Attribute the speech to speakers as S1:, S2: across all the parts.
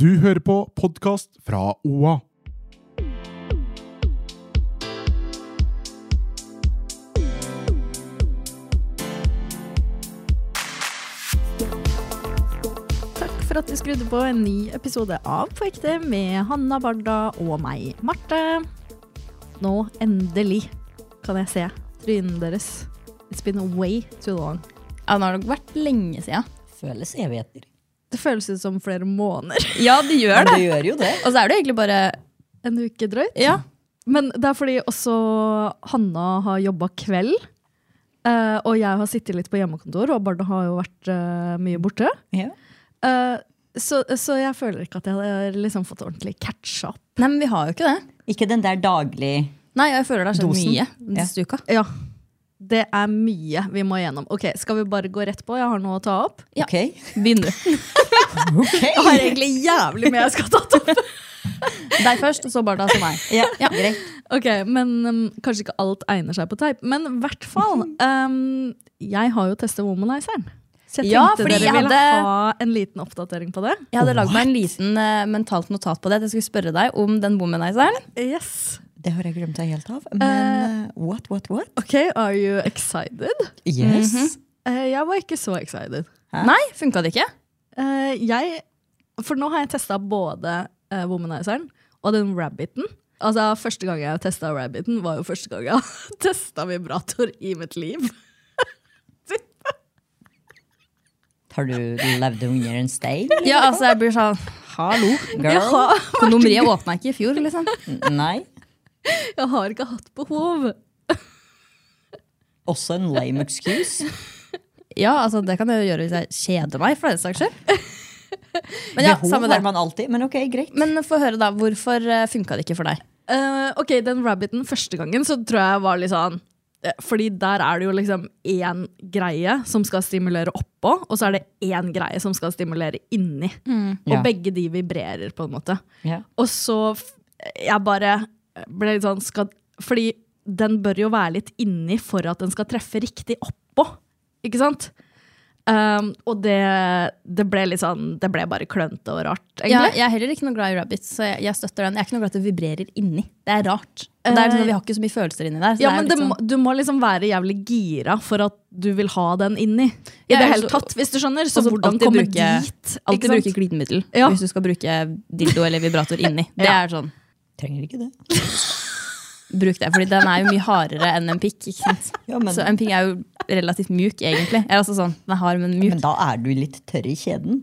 S1: Du hører på podkast fra OA.
S2: Takk for at du skrudde på en ny episode av På ekte med Hanna Barda og meg, Marte. Nå endelig kan jeg se trynene deres. It's been way too long.
S3: Ja, nå har det vært lenge siden.
S4: Føles evigheter.
S2: Det føles ut som flere måneder.
S3: Ja, det
S4: Men
S3: gjør
S4: det
S3: det.
S4: gjør jo det.
S3: Og så er det egentlig bare
S2: En uke drøyt.
S3: Ja.
S2: Men det er fordi også Hanna har jobba kveld. eh, og jeg har sittet litt på hjemmekontor, og Barda har jo vært eh, mye borte. Eh, så, så jeg føler ikke at jeg har liksom fått ordentlig catcha opp.
S3: Nei, men vi har jo ikke det.
S4: Ikke den der daglig
S3: Nei, jeg føler det har skjedd
S4: Dosen.
S3: mye denne uka.
S2: Ja. Det er mye vi må gjennom. Ok, Skal vi bare gå rett på? Jeg har noe å ta opp.
S3: Ja.
S4: Ok.
S3: Begynn du.
S4: Ok.
S2: Jeg har egentlig jævlig mye jeg skal ta opp.
S3: Deg først, og så Barda og så meg.
S4: Ja, greit.
S2: Ok, men um, Kanskje ikke alt egner seg på teip, men i hvert fall. Um, jeg har jo testet womanizeren. Så jeg
S3: Ja,
S2: tenkte
S3: fordi
S2: dere
S3: jeg
S2: ville
S3: hadde-
S2: ha en liten oppdatering på det.
S3: Jeg hadde lagd meg en liten eh, mentalt notat på det. at Jeg skulle spørre deg om den womanizeren.
S2: Yes.
S4: Det har jeg glemt meg helt av. Men eh, what, what, what?
S2: Ok, Are you excited?
S4: Yes.
S3: Mhm.
S2: Eh, jeg var ikke så excited.
S4: Hæ?
S3: Nei, funka det ikke?
S2: Eh, jeg For nå har jeg testa både eh, womanizeren og den rabbiten. Altså, Første gang jeg testa rabbiten, var jo første gang jeg testa vibrator i mitt liv.
S4: Har du levd under en stein?
S3: Ja, altså, jeg blir sånn Hallo.
S4: Girl?
S3: Kondomeriet åpna ikke i fjor, liksom.
S4: Nei.
S2: Jeg har ikke hatt behov.
S4: Også en lame excuse.
S3: Ja, altså, det kan jeg jo gjøre hvis jeg kjeder meg, for den saks skyld. Men ja,
S4: Behov
S3: samme
S4: har
S3: det.
S4: man alltid, men ok, greit.
S3: Men få høre, da. Hvorfor eh, funka det ikke for deg?
S2: Eh, ok, den rabbiten første gangen så tror jeg var litt sånn eh, fordi der er det jo liksom én greie som skal stimulere oppå, og så er det én greie som skal stimulere inni. Og
S3: Mm.
S4: Ja.
S2: begge de vibrerer, på en måte.
S4: Ja.
S2: Og så f- Jeg bare ble litt sånn skal, Fordi den bør jo være litt inni for at den skal treffe riktig oppå. Ikke sant? Um, og det, det ble litt sånn Det ble bare klønete og rart,
S3: Ja,
S2: egentlig.
S3: jeg er heller ikke noe glad i rabbits, så jeg, jeg støtter den. Jeg er ikke noe glad i at det vibrerer inni. Det er rart. Og det er sånn, at vi har ikke så mye følelser inni der. Så
S2: Eh, Ja,
S3: det er
S2: men
S3: litt
S2: det, må-
S3: sånn,
S2: du må liksom være jævlig gira for at du vil ha den inni. I
S3: Ja,
S2: det
S3: ellers
S2: hele
S3: så-
S2: tatt, hvis du skjønner. Så
S3: Og så
S2: hvordan
S3: alltid
S2: komme
S3: bruke-
S2: dit?
S3: alltid
S2: ikke sant?
S3: bruke glidemiddel
S2: Ja.
S3: hvis du skal bruke dildo eller vibrator inni. Det
S2: Ja.
S3: er sånn,
S4: Trenger ikke det.
S3: Bruk det, fordi den er jo mye hardere enn en pikk. Ikke sant?
S4: Ja, men,
S3: Så en pikk er jo relativt mjuk, egentlig. Eller altså sånn, den er hard, men mjuk.
S4: men da er du litt tørr i kjeden.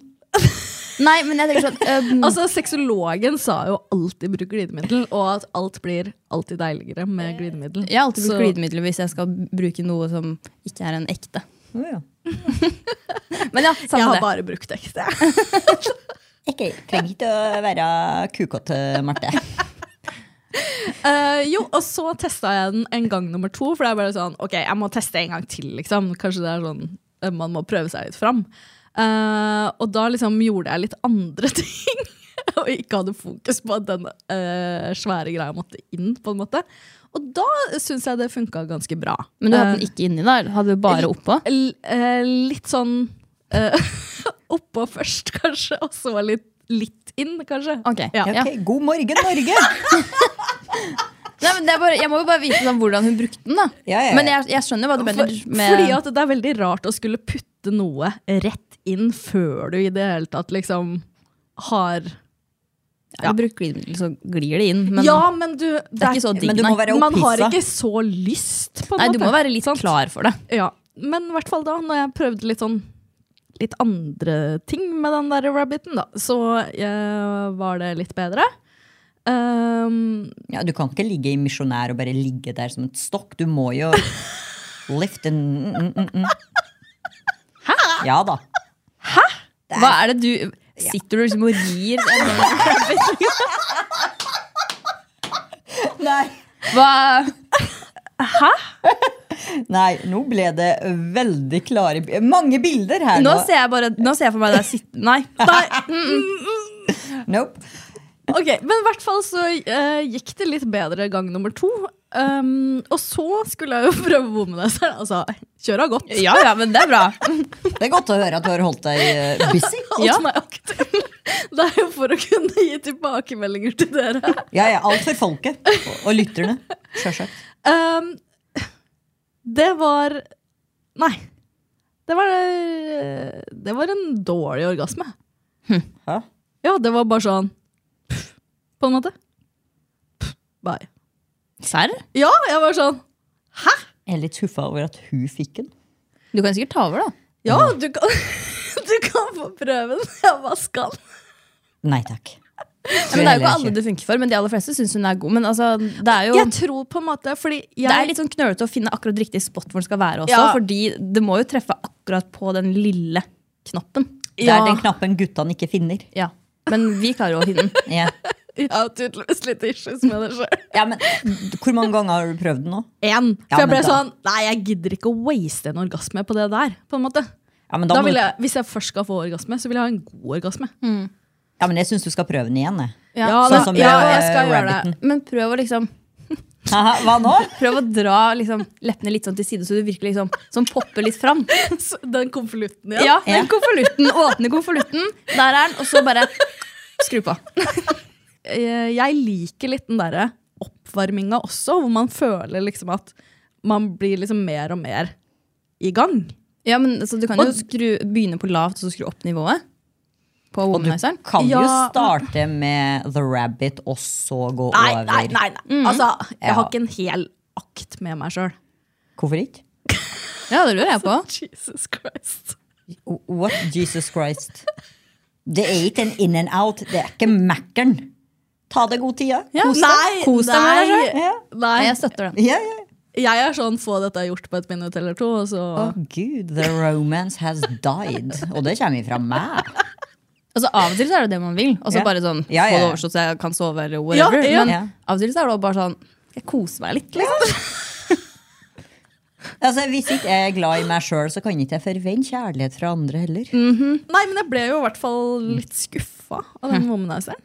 S3: Nei, men jeg tenker sånn øhm,
S2: Altså, Sexologen sa jo alltid bruk glidemiddel, og at alt blir alltid deiligere med glidemiddel.
S3: Jeg har alltid
S2: Så-
S3: brukt glidemiddel hvis jeg skal bruke noe som ikke er en ekte.
S4: Å, ja.
S3: Men ja,
S2: Jeg
S3: samme
S2: har
S3: det.
S2: bare brukt ekte.
S4: Ok, trenger ikke å være kukåte, Marte.
S2: Eh, jo, og så testa jeg den en gang nummer to, for det er bare sånn Ok, jeg må teste en gang til, liksom. Kanskje det er sånn eh, man må prøve seg litt fram. Eh, og da liksom gjorde jeg litt andre ting. Og ikke hadde fokus på at den eh, svære greia måtte inn, på en måte. Og da syns jeg det funka ganske bra.
S3: Men du hadde den ikke inni, da? eller Hadde du bare oppå?
S2: L eh, litt sånn eh, oppå først, kanskje, og så litt, litt inn, kanskje.
S3: Ok,
S2: Ja.
S4: Ja, ok, God morgen, Norge!
S3: Nei, men det er bare, jeg må jo bare vite sånn, hvordan hun brukte den. da
S4: Ja, ja, ja.
S3: Men jeg, jeg skjønner hva du mener.
S2: For,
S3: Med,
S2: Fordi at det er veldig rart å skulle putte noe rett inn før du i det hele tatt liksom har
S3: ja. Du bruker glidemiddel, så glir det inn. Men
S2: Ja, men du Det,
S3: er ikke så digg,
S4: Men du må
S3: nei.
S4: være
S2: Man har
S4: opphissa.
S2: ikke så lyst, på en
S3: nei,
S2: måte.
S3: du må være litt klar for det.
S2: ja. Men i hvert fall da, når jeg prøvde litt sånn litt andre ting med den der rabbiten, da, så eh, var det litt bedre. Ehm,
S4: Ja, du kan ikke ligge i misjonær og bare ligge der som et stokk. Du må jo lift en mm, mm, mm, mm. Ja da.
S3: Hva er det du Sitter du liksom og rir? en sånn-
S4: Nei.
S3: Hva,
S4: Nei, nå ble det veldig klare bi- Mange bilder her
S3: nå
S4: nå.
S3: ser jeg bare Nå ser jeg for meg deg sitte Nei. nei.
S4: Nope.
S2: Ok, Men i hvert fall så eh, gikk det litt bedre gang nummer to. Um, og så skulle jeg jo prøve å bo med deg, så er det altså, kjøra godt.
S3: Ja, ja, men det er bra.
S4: Det er godt å høre at du har holdt deg eh, busy.
S2: Alt som er aktuelt. Det er jo for å kunne gi tilbakemeldinger til dere.
S4: Ja, ja, alt for folket og- og lytterne. Sjølsagt.
S2: Um, det var Nei. Det var, eh, det var en dårlig orgasme.
S4: Hæ?
S2: Ja, det var bare sånn pff, På en måte. Pff, Bye.
S3: Serr?
S2: Ja, jeg var sånn
S4: Jeg er litt skuffa over at hun fikk den.
S3: Du kan sikkert ta over, da.
S2: Ja, du kan, du kan få prøve den. Jeg bare skal.
S4: Nei takk.
S3: Ja, men det er jo ikke alle det funker for, men de aller fleste syns hun er god. Men altså, det er jo
S2: Jeg tror på en måte fordi jeg,
S3: det er litt sånn knølete å finne akkurat riktig spot hvor den skal være også.
S2: Ja.
S3: Fordi det må jo treffe akkurat på den lille knoppen.
S4: Det er den knappen guttene ikke finner.
S3: Ja. Men vi klarer å finne den.
S4: Ja.
S2: Jeg har tydeligvis litt issues med det sjøl.
S4: ja, men Hvor mange ganger har du prøvd den nå?
S2: Én.
S4: Ja,
S2: For jeg
S4: men
S2: ble
S4: da-
S2: sånn Nei, jeg gidder ikke å waste en orgasme på det der. På en måte
S4: Ja, men,
S2: da
S4: da må
S2: vil
S4: du,
S2: jeg, Hvis jeg først skal få orgasme, så vil jeg ha en god orgasme.
S4: ja, men jeg syns du skal prøve den igjen. Jeg.
S3: Ja.
S2: da-
S4: Sånn som
S2: ja,
S4: med,
S2: jeg skal
S4: eh,
S2: gjøre det.
S4: rabbiten.
S3: Men prøv å liksom
S4: Haha, Hva nå?
S3: Prøv å dra liksom, leppene litt sånn til side, så du virkelig liksom, sånn popper litt fram.
S2: Så Den konvolutten
S3: Ja, den konvolutten, Åpne konvolutten, der er den, og så bare skru på.
S2: Eh, Jeg liker litt den derre oppvarminga også, hvor man føler liksom at man blir liksom mer og mer i gang.
S3: Ja, men så Du kan jo
S2: Og-
S3: skru, begynne på lavt og så skru opp nivået. På
S4: Og du
S3: womanizeren.
S4: kan jo
S2: Ja.
S4: starte med The Rabbit og så gå
S2: Nei,
S4: over. Mm.
S2: nei, nei. nei. Altså, jeg
S4: Ja.
S2: har ikke en hel akt med meg sjøl.
S4: Hvorfor ikke?
S3: Ja, det lurer jeg på.
S2: Jesus Christ.
S4: What Jesus Christ? Det er ikke en in and out. Det er ikke Mækkern. Ta deg god tid, ja.
S3: Ja,
S4: Kos deg.
S2: Nei,
S3: Kos deg med deg
S2: nei.
S3: selv.
S4: Ja.
S3: Nei,
S2: Nei,
S3: jeg støtter den.
S4: Ja, ja.
S2: jeg er sånn få dette gjort på et minutt eller to, og så
S4: Å gud, the romance has died. Og det kommer fra meg.
S3: Altså, Av og til så er det det man vil. Og så
S4: Ja.
S3: bare sånn,
S4: Ja, ja,
S3: Få det
S4: ja.
S3: overstått så jeg kan sove, eller whatever.
S2: Ja, ja.
S3: Men
S4: Ja.
S3: av og til så er det også bare sånn Jeg koser meg litt. Liksom.
S4: Altså, Hvis ikke jeg er glad i meg sjøl, så kan ikke jeg forvente kjærlighet fra andre heller.
S2: Mm. Nei, men jeg ble jo i hvert fall litt skuffa av
S4: Hm.
S2: den womanizeren.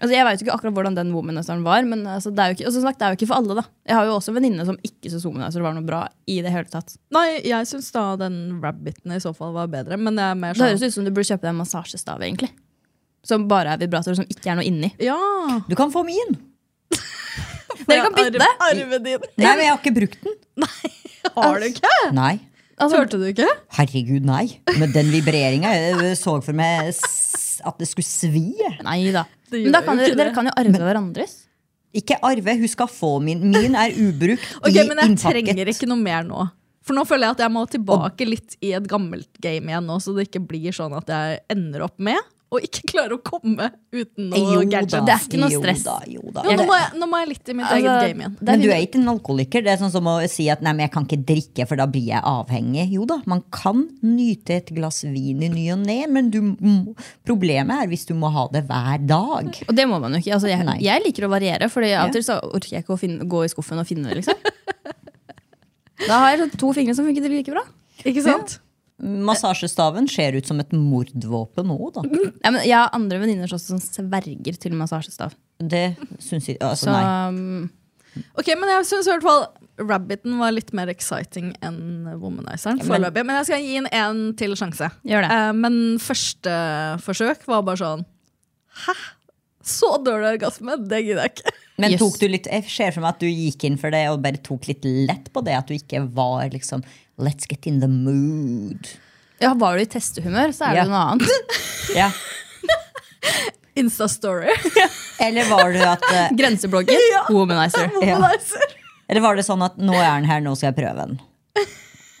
S3: Altså, jeg vet jo ikke akkurat hvordan den womanizeren var, men altså, det, er jo ikke, og som sagt, det er jo ikke for alle. da. Jeg har jo også en venninne som ikke syns womanizer var noe bra i det hele tatt.
S2: Nei, jeg syns da den rabbiten i så fall var bedre, men jeg er mer
S3: Det høres
S2: sånn
S3: ut som du burde kjøpe deg en massasjestav, egentlig. Som bare er vibrator, som ikke er noe inni.
S2: Ja!
S4: Du kan få min.
S3: Dere kan bytte!
S2: Arv- Arven din.
S4: Nei, men jeg har ikke brukt den.
S2: Har du ikke?
S4: Nei.
S3: Altså,
S2: Turte du ikke?
S4: Herregud, nei. Med den vibreringa jeg så for meg s- at det skulle svi.
S3: nei da.
S2: Det gjør
S3: Men da kan
S2: jo
S3: dere,
S2: ikke
S3: dere
S2: det.
S3: kan jo arve hverandres.
S4: Ikke arve, hun skal få min. Min er ubrukt.
S2: Ok,
S4: i
S2: Men jeg
S4: innpakket.
S2: trenger ikke noe mer nå. For nå føler jeg at jeg må tilbake litt i et gammelt game igjen, nå, så det ikke blir sånn at jeg ender opp med å ikke klare å komme uten
S4: Jo
S2: noe gadget.
S4: da,
S3: Det er ikke noe
S4: jo
S3: stress.
S4: da, jo da.
S2: Ja, nå, må jeg, nå må jeg litt i mitt eget game igjen.
S3: det
S4: Men du
S3: fint.
S4: er ikke en alkoholiker. Det er sånn som å si at nei, men jeg kan ikke drikke, for da blir jeg avhengig. Jo da, man kan nyte et glass vin i ny og ne, men du, må- problemet er hvis du må ha det hver dag.
S3: Og det må man jo ikke. Altså, jeg,
S4: Nei.
S3: jeg liker å variere, for av og til så orker jeg ikke å finne, gå i skuffen og finne det. liksom. Da har jeg sånn to fingre som funker like bra.
S2: Ikke sant?
S4: Massasjestaven ser ut som et mordvåpen òg, da.
S3: Ja, men jeg har andre venninner også som sverger til massasjestav.
S4: Det syns jeg Altså,
S3: Så
S4: nei.
S3: um,
S2: Ok, Men jeg syns i hvert fall rabbiten var litt mer exciting enn womanizeren. foreløpig. Men jeg skal gi en en til sjanse.
S3: Gjør det.
S2: Eh, men første forsøk var bare sånn Hæ? Så dårlig orgasme? Det gidder jeg ikke.
S4: Men
S3: Yes.
S4: tok du litt, jeg ser for meg at du gikk inn for det og bare tok litt lett på det. At du ikke var liksom Let's get in the mood.
S3: ja, var du i testehumør, så er det
S4: Ja.
S3: jo noe annet.
S4: Ja.
S2: Insta-story.
S4: Eller var det at eh,
S3: Grenseblogger, womanizer.
S2: Womanizer.
S4: Eller var det sånn at nå er den her, nå skal jeg prøve den?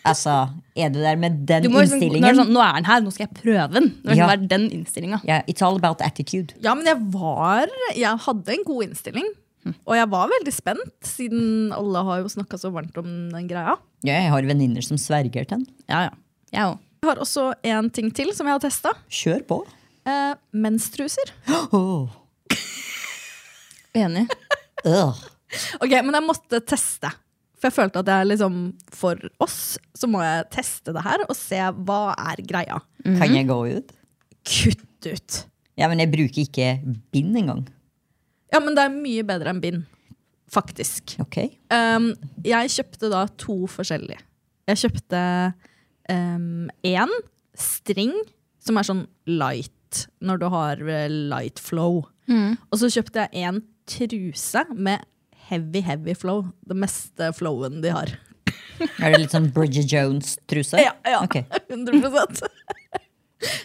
S4: Altså, er du der med den
S3: Du må liksom, nå, er
S4: innstillingen?
S3: det sånn, nå er den her, nå skal jeg prøve den. Det må liksom
S4: Ja.
S3: være den innstillingen.
S4: Ja, it's all about attitude.
S2: Ja, men jeg var Jeg hadde en god innstilling. Og jeg var veldig spent, siden alle har jo snakka så varmt om den greia.
S4: Ja, jeg har venninner som sverger til den.
S3: Ja, ja. Jeg òg.
S2: Jeg har også en ting til som jeg har testa.
S4: Kjør på.
S2: Eh, menstruser.
S4: Åh,
S3: Enig.
S4: øh.
S2: Ok, Men jeg måtte teste. For jeg følte at jeg liksom For oss så må jeg teste det her og se hva er greia.
S4: Kan
S3: Mhm.
S4: jeg gå ut?
S2: Kutt ut!
S4: Ja, men jeg bruker ikke bind engang.
S2: Ja, men det er mye bedre enn bind. faktisk.
S4: Ok.
S2: Um, jeg kjøpte da to forskjellige. Jeg kjøpte um, en string, som er sånn light, når du har eh, light flow. Og så kjøpte jeg en truse med heavy, heavy flow. Det meste flowen de har.
S4: Er det litt sånn Bridget Jones-truse?
S2: Ja, ja.
S4: Ok.
S2: 100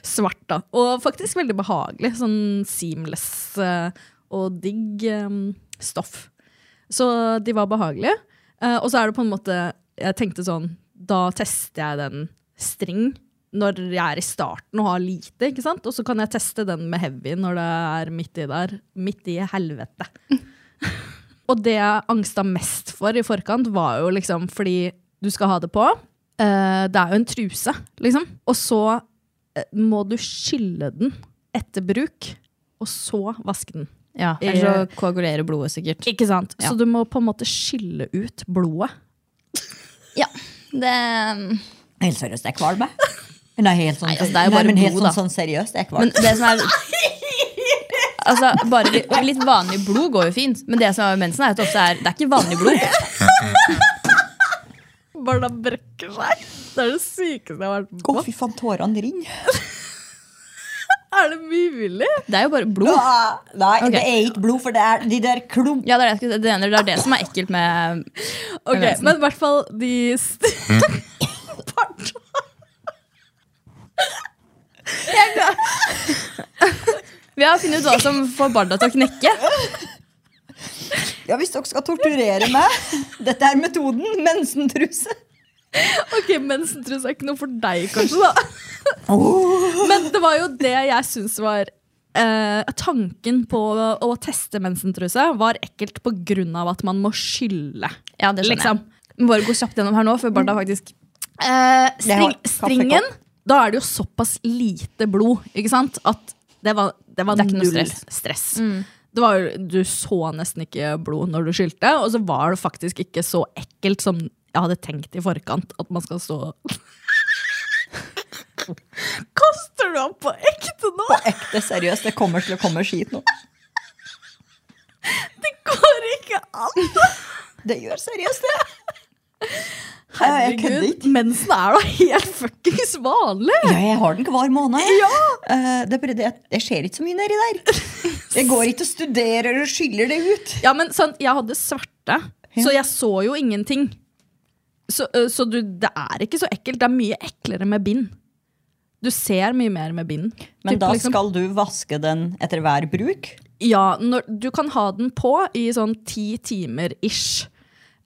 S2: Svart, da. Og faktisk veldig behagelig. Sånn seamless eh, og digg eh, stoff. Så de var behagelige. Eh, Og så er det på en måte Jeg tenkte sånn Da tester jeg den string når jeg er i starten og har lite, ikke sant? Og så kan jeg teste den med heavy når det er midt i der. Midt i helvete. Og det jeg angsta mest for i forkant, var jo liksom fordi du skal ha det på. eh, det er jo en truse, liksom. Og så eh, må du skylle den etter bruk, og så vaske den.
S3: Ja, Ellers så koagulerer blodet sikkert.
S2: Ikke sant?
S3: Ja.
S2: Så du må på en måte skylle ut blodet.
S3: Ja, det
S4: Helt seriøst, jeg kvalmer. Hun er helt sånn,
S3: Nei, altså, det er jo
S4: Nei,
S3: bare
S4: men helt
S3: blod,
S4: sånn,
S3: da.
S4: sånn seriøst. Jeg
S3: Men
S4: kvalmer.
S3: det som er Altså, bare litt, litt vanlig blod går jo fint, men det som er med mensen, er at det ofte er Det er ikke vanlig blod.
S2: Barna brekker seg. Det er det sykeste jeg har vært med
S4: Å, fy faen, tårene rinner.
S2: Er det mulig?
S3: Det er jo bare blod.
S4: Ah, Nei,
S3: Ok.
S4: det er ikke blod, for det er de der klump...
S3: Ja, det er det, jeg skulle si. det, ene- det er det som er ekkelt med
S2: Ok,
S3: Mensen.
S2: Men i hvert fall de st Pardon.
S3: Vi har funnet ut hva
S2: Altså,
S3: som får barna til å knekke.
S4: Ja, hvis dere skal torturere meg. Dette er metoden. Mensentruse.
S2: Ok, Mensentrus er ikke noe for deg, kanskje. da Men det var jo det jeg syns var eh, Tanken på å, å teste mensentruse var ekkelt pga. at man må skylle.
S3: Ja, det skjønner
S2: Liksom.
S3: jeg. Men bare gå kjapt gjennom her nå, før barna faktisk
S2: Eh, string,
S4: har kaffekopp.
S2: stringen Da er det jo såpass lite blod ikke sant? at det var, det var
S3: Det er ikke noe
S2: null stress.
S3: stress. Mm.
S2: Det var, jo- du så nesten ikke blod når du skylte, og så var det faktisk ikke så ekkelt som jeg hadde tenkt i forkant. At man skal stå Kaster du opp på ekte nå?
S4: Ekte seriøst, det kommer til å komme skit nå.
S2: Det går ikke an!
S4: Det gjør seriøst det. Ja, jeg kødder
S2: Herregud,
S4: ikke.
S2: mensen er da helt fuckings vanlig!
S4: Ja, jeg har den hver måned. jeg. Eh, det, er bare det, at det skjer ikke så mye nedi der. Jeg går ikke og studerer og skyller det ut.
S2: Ja, men sånn, jeg hadde svarte,
S4: Ja.
S2: så jeg så jo ingenting. Så, ø, så du, det er ikke så ekkelt. Det er mye eklere med bind. Du ser mye mer med bind.
S4: Men
S2: Typ
S4: da
S2: liksom-
S4: skal du vaske den etter hver bruk.
S2: Ja, når, du kan ha den på i sånn ti timer ish.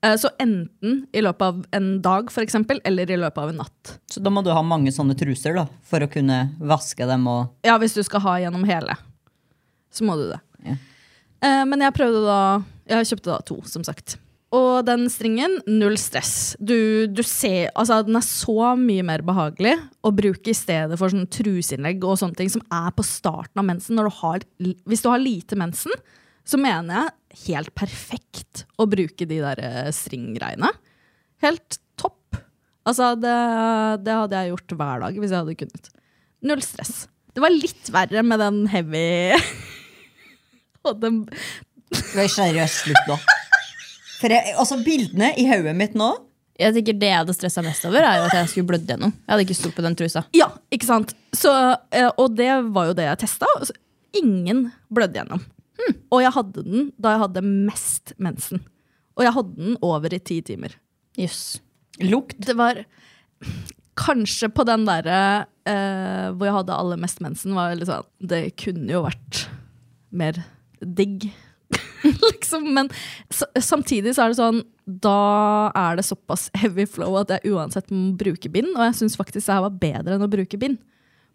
S2: Eh, Så enten i løpet av en dag, for eksempel, eller i løpet av en natt.
S4: Så da må du ha mange sånne truser da, for å kunne vaske dem og
S2: Ja, hvis du skal ha gjennom hele, så må du det.
S4: Ja.
S2: Eh, Men jeg prøvde da Jeg kjøpte da to, som sagt. Og den stringen, null stress. Du, du ser, altså Den er så mye mer behagelig å bruke i stedet for sånn truseinnlegg og sånne ting som er på starten av mensen. Når du har, hvis du har lite mensen, så mener jeg helt perfekt å bruke de der eh, stringgreiene. Helt topp. Altså, det, det hadde jeg gjort hver dag hvis jeg hadde kunnet. Null stress. Det var litt verre med den heavy og den
S4: Vær seriøs, slutt nå. For jeg, altså Bildene i hodet mitt nå
S3: Jeg tenker Det jeg hadde stressa mest over, er jo at jeg skulle blødd gjennom. Jeg hadde ikke stolt på den trusa.
S2: Ja, ikke sant? Så, eh, og det var jo det jeg testa. og så- Ingen blødde gjennom. Og jeg hadde den da jeg hadde mest mensen. Og jeg hadde den over i ti timer.
S3: Jøss.
S4: Lukt.
S2: Det var kanskje på den derre eh, hvor jeg hadde aller mest mensen, var jeg litt sånn Det kunne jo vært mer digg, liksom. Men s- samtidig så er det sånn da er det såpass heavy flow at jeg uansett må bruke bind. Og jeg syns faktisk det her var bedre enn å bruke bind.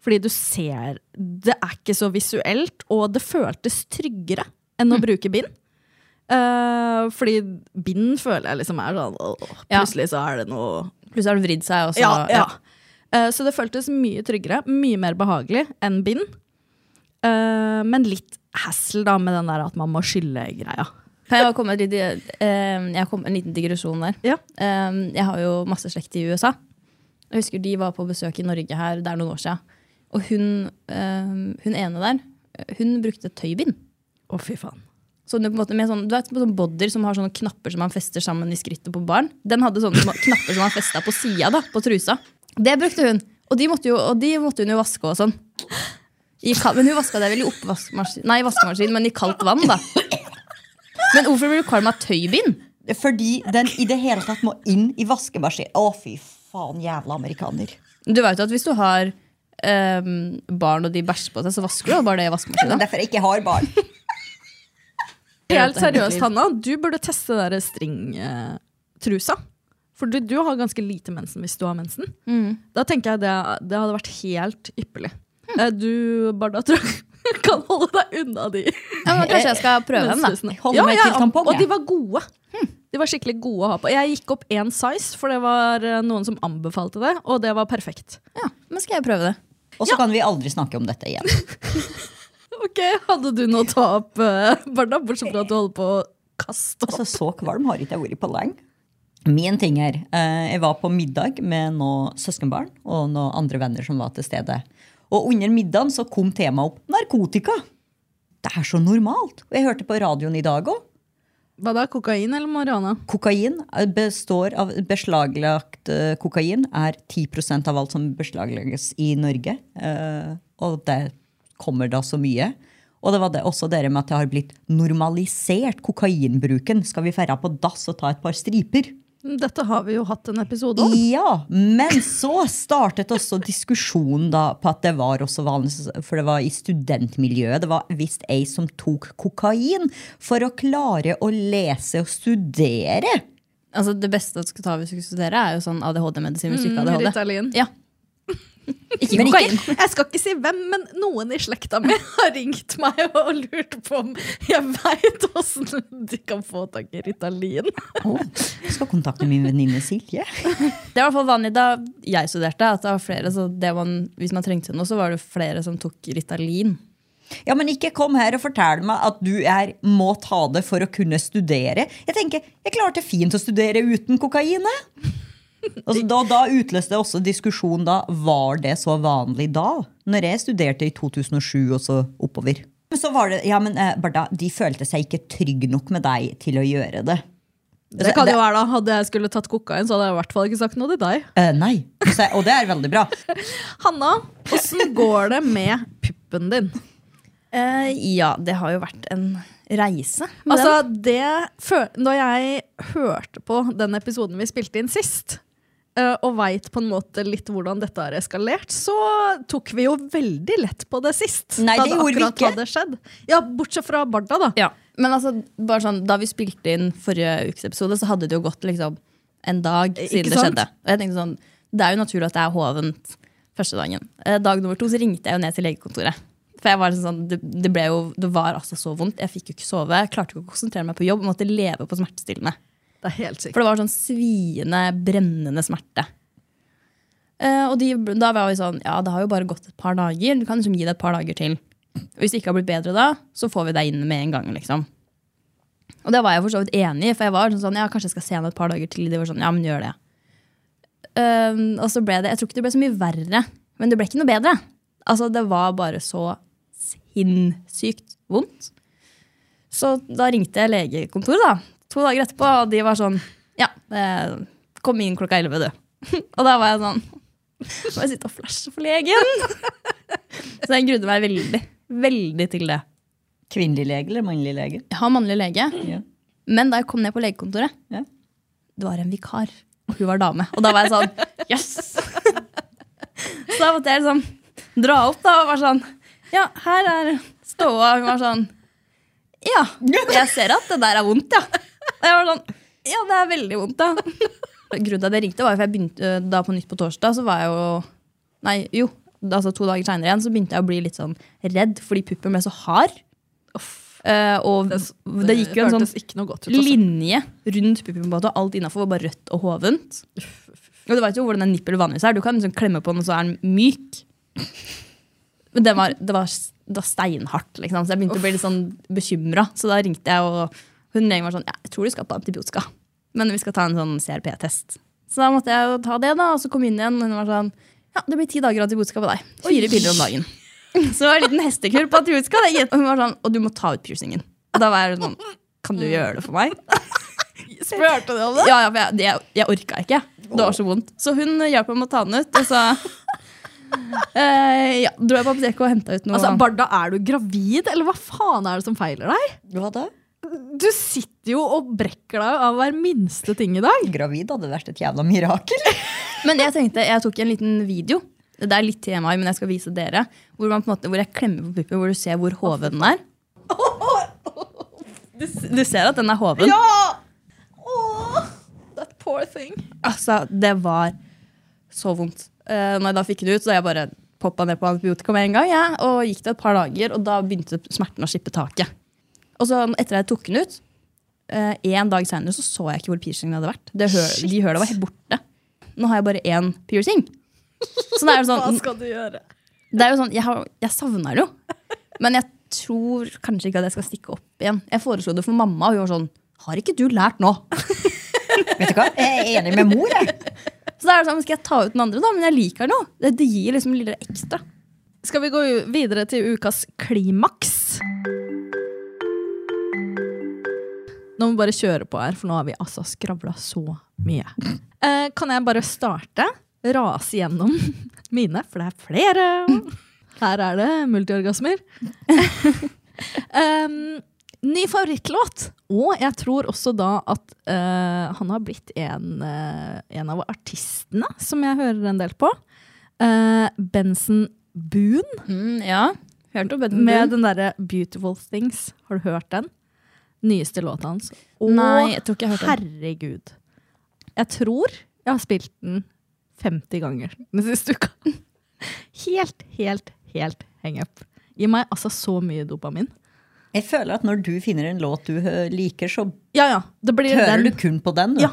S2: Fordi du ser Det er ikke så visuelt, og det føltes tryggere enn å bruke bind. Eh, fordi bind føler jeg liksom er sånn åh,
S3: Ja.
S2: Plutselig så er det noe
S3: Plutselig har det vridd seg. Og så,
S2: ja, ja. Eh, Så det føltes mye tryggere, mye mer behagelig enn bind. Eh, Men litt hassle da med den der at man må skylle greia.
S3: Kan jeg bare komme med et lite, eh, jeg kom, en liten digresjon der?
S2: Ja.
S3: Eh, jeg har jo masse slekt i USA. Jeg husker De var på besøk i Norge her det er noen år siden. ehm, Og hun, eh, hun ene der, eh, hun brukte tøybind.
S2: Å, fy faen.
S3: Så den er på en måte med sånn, du vet, på sånn bodder som har sånne knapper som man fester sammen i skrittet på barn. Den hadde sånne sma- knapper som man festa på sida da, på trusa. Det brukte hun. Og de måtte, jo, og de måtte hun jo vaske og sånn. I kal- men hun vaska det vel i oppvaskmaskin, nei, vaskemaskin, men i kaldt vann, da. Men hvorfor blir du kvalm av tøybind?
S4: Fordi den i det hele tatt må inn i vaskemaskin. Å, fy faen, jævla amerikaner.
S3: Du vet jo at hvis du har ehm, barn og de bæsjer på seg, så vasker du jo bare det i
S4: Det
S3: vaskemaskinen.
S4: er derfor jeg ikke har barn.
S2: Helt seriøst, Hanna, du burde teste den der stringtrusa. For du, du har ganske lite mensen hvis du har mensen. Da tenker jeg det, det hadde vært helt ypperlig. Eh, Du, Barda, tror jeg kan holde deg unna de
S3: Ja, men kanskje jeg skal prøve den, da.
S2: menstrusene.
S4: Holder meg til tampong,
S2: Og de
S4: jeg.
S2: var gode. De var skikkelig gode å ha på. Jeg gikk opp én size, for det var eh, noen som anbefalte det, og det var perfekt.
S3: Ja, men skal jeg prøve det?
S4: Og så kan vi aldri snakke om dette igjen.
S2: Ok, Hadde du noe å ta opp, eh, Barda, bortsett fra at du holder på å kaste opp?
S4: Altså, så kvalm har ikke jeg vært på lenge. Min ting er, eh, jeg var på middag med noen søskenbarn og noen andre venner som var til stede. Og under middagen så kom temaet opp narkotika. Det er så normalt. Og jeg hørte på radioen i dag òg.
S2: Hva da, kokain eller marihuana?
S4: Kokain eh, består av beslaglagt eh, kokain er 10 av alt som beslaglegges i Norge. Eh, Og det kommer da så mye. Og det var det også dere med at det har blitt normalisert kokainbruken. Skal vi færre på dass og ta et par striper?
S2: Dette har vi jo hatt en episode om.
S4: Ja, men så startet også diskusjonen da på at det var også vanlig, for det var i studentmiljøet. Det var visst ei som tok kokain for å klare å lese og studere.
S3: Altså, det beste du skal ta hvis du skal studere, er jo sånn ADHD-medisin hvis du ikke
S2: Mm,
S3: har ADHD.
S2: Ritalin.
S3: Ja. Ikke
S4: Men
S3: kokain.
S2: Jeg skal ikke si hvem, men noen i slekta mi har ringt meg og lurt på om jeg veit åssen de kan få tak i Ritalin.
S4: Å, jeg skal kontakte min venninne Silje.
S3: Det var i hvert fall vanlig da jeg studerte. at det var flere, så det man, Hvis man trengte noe, så var det flere som tok Ritalin.
S4: Ja, men ikke kom her og fortell meg at du er, må ta det for å kunne studere. Jeg tenker, jeg klarte fint å studere uten kokain. jeg. Altså, da, da utløste det også diskusjon da, var det så vanlig da? Når jeg studerte i 2007 og så oppover. Men så var det, ja, men eh, Barda, de følte seg ikke trygg nok med deg til å gjøre det. Altså,
S2: Det kan jo være da, Hadde jeg skulle tatt kokain, så hadde jeg i hvert fall ikke sagt noe til deg.
S4: Eh, nei, så, og det er veldig bra.
S2: Hanna, åssen går det med puppen din?
S3: Eh, ja, det har jo vært en reise.
S2: Altså, det fø- Når jeg hørte på den episoden vi spilte inn sist, eh, og veit på en måte litt hvordan dette har eskalert, så tok vi jo veldig lett på det sist.
S4: Nei,
S2: da
S4: det gjorde vi
S2: akkurat
S4: ikke.
S2: Hadde skjedd. Ja, bortsett fra Barda, da.
S3: ja. Men altså, bare sånn, da vi spilte inn forrige ukes episode, så hadde det jo gått liksom, en dag siden
S2: Ikke
S3: det
S2: sant?
S3: skjedde. Og jeg tenkte sånn, Det er jo naturlig at det er hovent første dagen. Eh, dag nummer to så ringte jeg jo ned til legekontoret. For jeg var sånn, det, det, ble jo, det var altså så vondt. Jeg fikk jo ikke sove. Jeg klarte ikke å konsentrere meg på jobb. Jeg måtte leve på smertestillende.
S2: Det er helt sykt.
S3: For det var sånn sviende, brennende smerte. Eh, og de, da var vi sånn Ja, det har jo bare gått et par dager. Du kan liksom gi det et par dager til. Hvis det ikke har blitt bedre da, så får vi deg inn med en gang, liksom. Og det var jeg for så vidt enig i, for jeg var sånn, sånn Ja, kanskje jeg skal se henne et par dager til. De var sånn, ja, men gjør det. Eh, og så ble det Jeg tror ikke det ble så mye verre, men det ble ikke noe bedre. Altså, det var bare så sinnssykt vondt. Så da ringte jeg legekontoret da, to dager etterpå, og de var sånn Ja, eh, kom inn klokka elleve, du. og da var jeg sånn Må jeg sitte og flashe for legen? så jeg grudde meg veldig, veldig til det.
S4: Kvinnelig lege eller mannlig lege?
S3: Jeg har mannlig lege,
S4: Ja.
S3: men da jeg kom ned på legekontoret,
S4: Ja.
S3: det var en vikar, og hun var dame. Og da var jeg sånn Yes! Så da måtte jeg liksom dra opp da, og var sånn Ja, her er ståa. Hun var sånn Ja, jeg ser at det der er vondt, ja. Og jeg var sånn Ja, det er veldig vondt, ja. Grunnen til at jeg ringte, var jo for jeg begynte eh, da på nytt på torsdag, så var jeg jo Nei, jo. Altså To dager seinere igjen så begynte jeg å bli litt sånn redd fordi puppen ble så hard. Eh, og det, gikk jo en sånn
S2: hørtes ikke noe godt ut. altså.
S3: linje rundt puppen på en måte, og alt innafor var bare rødt og hovent. Og du vet jo hvordan en nippel vanligvis er. Du kan liksom klemme på den, og så er den myk. Men den var, det, var, det var steinhardt, liksom. så jeg begynte å bli litt sånn bekymra. Så da ringte jeg, og hun legen var sånn ja, Jeg tror du skal på antibiotika, men vi skal ta en sånn CRP-test. Så da måtte jeg jo ta det, da, og så kom jeg inn igjen, og hun var sånn Ja, det blir ti dager antibiotika på deg. Fire piller om dagen. Så det var en liten hestekur på antibiotika. det gitt. Og hun var sånn Og du må ta ut piercingen. Og da var jeg sånn Kan du gjøre det for meg?
S2: Spurte du om det? altså.
S3: Ja, ja, for jeg, det, jeg orka ikke. Det var så vondt. Så hun hjalp meg med å ta den ut. Og så eh, ja, dro jeg på apoteket og henta ut noe.
S2: Altså, Barda, er du gravid, eller hva faen er det som feiler deg?
S4: Hva da?
S2: Du sitter jo og brekker deg av hver minste ting i dag.
S4: Gravid hadde vært et jævla mirakel.
S3: Men jeg tenkte, jeg tok en liten video. Det er litt TMI, men jeg skal vise dere. Hvor, man på en måte, hvor jeg klemmer på puppen, hvor du ser hvor hoven den er. Du, s- du ser at den er hoven?
S2: That poor thing.
S3: Altså, det var så vondt. Uh, når jeg da fikk det ut, så jeg bare poppa ned på antibiotika med en gang. jeg, og gikk det et par dager, og da begynte smerten å slippe taket. Og så etter at jeg tok den ut, eh, en dag senere så så jeg ikke hvor piercingen hadde vært. Det høl, de høla var helt borte. Nå har jeg bare én piercing. Så da er
S2: Hva
S3: det sånn,
S2: skal du gjøre?
S3: det er jo sånn jeg, har, jeg savner det jo. Men jeg tror kanskje ikke at jeg skal stikke opp igjen. Jeg foreslo det for mamma, og hun var sånn Har ikke du lært nå?
S4: Vet du hva? Jeg er enig med mor, jeg.
S3: Så da er det sånn, skal jeg ta ut den andre, da? Men jeg liker den jo. Det, det gir liksom litt ekstra.
S2: Skal vi gå u- videre til ukas klimaks? Nå må vi bare kjøre på her, for nå har vi altså skravla så mye. Eh, kan jeg bare starte? Rase gjennom mine, for det er flere. Her er det multiorgasmer. um, ny favorittlåt. Og jeg tror også da at eh, han har blitt en, eh, en av artistene som jeg hører en del på. Eh, Benson Boone
S3: Mm, ja. Hørte om Benton
S2: med
S3: Boone.
S2: den derre 'Beautiful Things'. Har du hørt den? Nyeste låta hans. Å,
S3: Nei, jeg tror ikke jeg hørte den.
S2: herregud. Jeg tror jeg har spilt den 50 ganger den siste uka. Helt, helt, helt hang up. Gi meg altså så mye dopamin.
S4: Jeg føler at når du finner en låt du hø- liker, så
S2: Ja, ja. Det blir
S4: hører
S2: den.
S4: du kun på den. Du.
S2: Ja,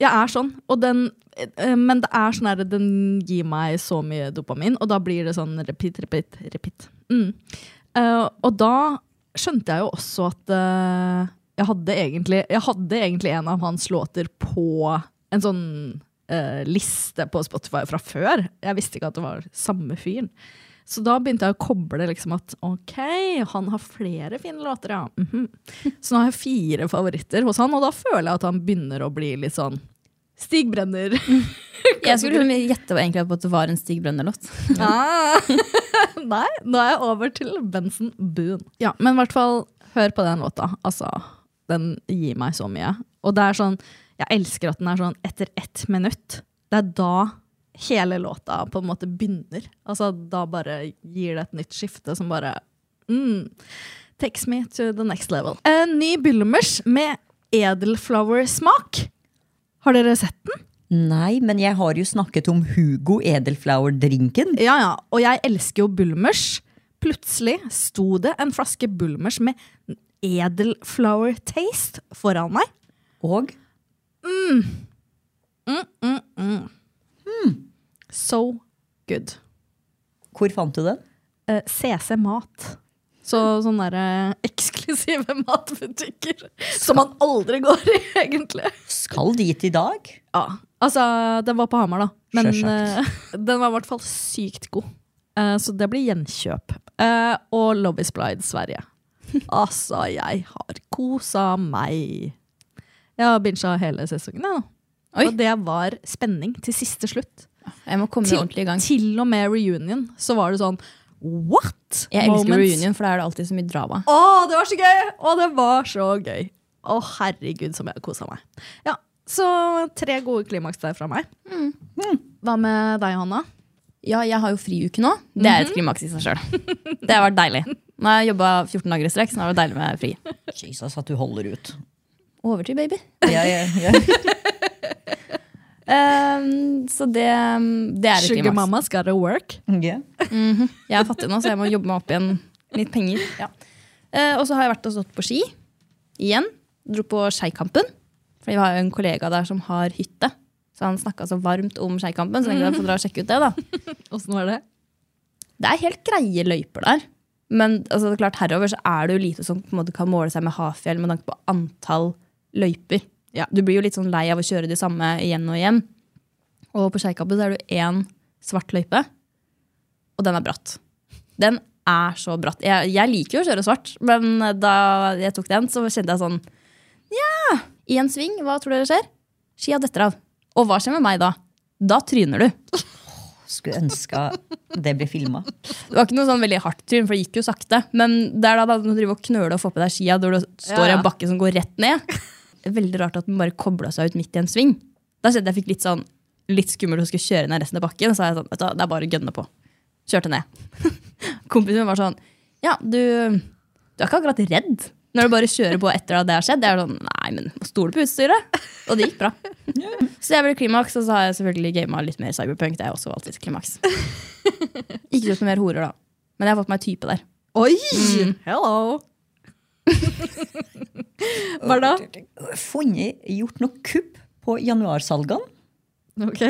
S2: jeg er sånn. Og den, eh, men det er sånn her, den gir meg så mye dopamin, og da blir det sånn repeat, repeat, repeat. Mm. Eh, og da skjønte jeg jo også at eh, jeg, hadde egentlig, jeg hadde egentlig en av hans låter på en sånn eh, liste på Spotify fra før. Jeg visste ikke at det var samme fyren. Så da begynte jeg å koble liksom at ok, han har flere fine låter, ja. Mhm. Så nå har jeg fire favoritter hos han, og da føler jeg at han begynner å bli litt sånn Stig Brenner.
S3: Jeg skulle liksom gjette egentlig på at det var en Stig Brenner-låt.
S2: Ah. Nei, nå er jeg over til Benson Boone. Ja, men i hvert fall, hør på den låta. Altså, den gir meg så mye. Og det er sånn, jeg elsker at den er sånn etter ett minutt. Det er da hele låta på en måte begynner. Altså, da bare gir det et nytt skifte som bare mm, takes me to the next level. En ny Bulmers med edelflower-smak. Har dere sett den?
S4: Nei, men jeg har jo snakket om Hugo Edelflower-drinken.
S2: Ja, ja. Og jeg elsker jo Bulmers. Plutselig sto det en flaske Bulmers med edelflower taste foran meg.
S4: Og
S2: So good.
S4: hvor fant du den?
S2: Eh, CC Mat. Så sånne der, eh, eksklusive matbutikker som man aldri går i, egentlig.
S4: Skal dit i dag?
S2: Ja, altså, den var på Hamar, da. Men
S4: Sjølsagt.
S2: eh, den var i hvert fall sykt god. Eh, så det blir gjenkjøp. Eh, og Love is Blind Sverige. Altså, jeg har kosa meg. Jeg har bincha hele sesongen, jeg, nå.
S3: Oi.
S2: Og det var spenning til siste slutt.
S3: Jeg må komme
S2: Til,
S3: ordentlig i gang.
S2: til og med reunion så var det sånn what?
S3: Jeg elsker
S2: Moments.
S3: reunion, for da er det alltid så mye drama.
S2: Å, det var så gøy! Å, det var så gøy. Å, herregud, som jeg har kosa meg. Ja, Så tre gode klimaks der fra meg. Hva med deg, Hanna?
S3: Ja, jeg har jo friuke nå. Det er et klimaks i seg sjøl. Det har vært deilig. Nå har jeg jobba 14 dager i strekk, så nå er det deilig med fri.
S4: Jesus, at du holder ut.
S3: Over til baby.
S4: Jeg, jeg, jeg.
S3: Ehm, så det, det er et
S2: Sugar
S3: klimaks.
S2: mama's gotta work.
S4: Ja.
S3: Jeg er fattig nå, så jeg må jobbe meg opp igjen litt penger. Ja. Eh, og så har jeg vært og stått på ski igjen. Dro på Skeikampen. Fordi vi har jo en kollega der som har hytte. Så han snakka så varmt om Skeikampen, så tenkte jeg får dra og sjekke ut det. da.
S2: Åssen var det?
S3: Det er helt greie løyper der. Men altså, det er klart, herover så er det jo lite som på en måte kan måle seg med Hafjell med tanke på antall løyper.
S2: Ja.
S3: Du blir jo litt sånn lei av å kjøre de samme igjen og igjen. Og på Skeikampen så er det jo én svart løype, og den er bratt. Den er så bratt. Jeg, jeg liker jo å kjøre svart, men da jeg tok den, så kjente jeg sånn Ja! I en sving, hva tror dere skjer? Skia detter av. Og hva skjer med meg da? Da tryner du.
S4: Skulle ønske det ble filma.
S3: Det var ikke noe sånn veldig hardt tryn, for det gikk jo sakte. Men det er da da du driver og knøler og får på deg skia når du står
S2: Ja,
S3: i
S2: ja.
S3: en bakke som går rett ned. Det er Veldig rart at den bare kobla seg ut midt i en sving. Da kjente jeg fikk litt sånn litt skummelt å skulle kjøre ned resten av bakken. Så jeg sånn, vet du, hva, det er bare å gønne på. Kjørte ned. Kompisen min var sånn, ja, du, du er ikke akkurat redd når du bare kjører på etter at det har skjedd. Det er sånn, nei, men må stole på utstyret. Og det gikk bra. Så jeg ble klimaks, og så har jeg selvfølgelig gamet litt mer cyberpunk. Det er også alltid klimaks. Ikke gjort noe mer horer, da. Men jeg har fått meg type der. Mm.
S2: Oi! Hello! Hva da?
S4: Funnet, gjort noe kupp på januarsalgene.
S2: Ok.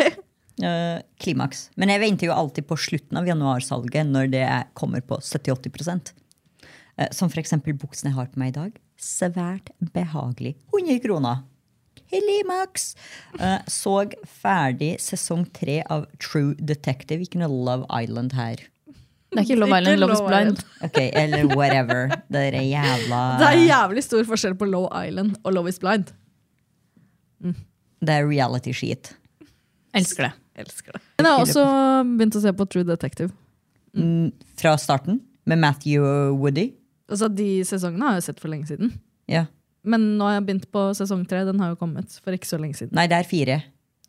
S4: Eh, klimaks. Men jeg venter jo alltid på slutten av januarsalget når det er- kommer på 70-80 eh, Som for eksempel buksen jeg har på meg i dag. Svært behagelig. 100 kroner. Klimaks! Eh, så ferdig sesong tre av True Detective. Ikke noe Love Island her.
S3: Det er ikke Love Island, Love is Blind.
S4: Ok, Eller whatever. Dere jævla
S2: Det er jævlig stor forskjell på Low Island og Love is Blind.
S4: Det er reality shit.
S3: Elsker det.
S2: Elsker det. Men jeg har også begynt å se på True Detective.
S4: Mm, Fra starten, med Matthew og Woody.
S2: Altså, De sesongene har jeg sett for lenge siden.
S4: Ja.
S2: Men nå har jeg begynt på sesong tre. Den har jo kommet for ikke så lenge siden.
S4: Nei, det er fire.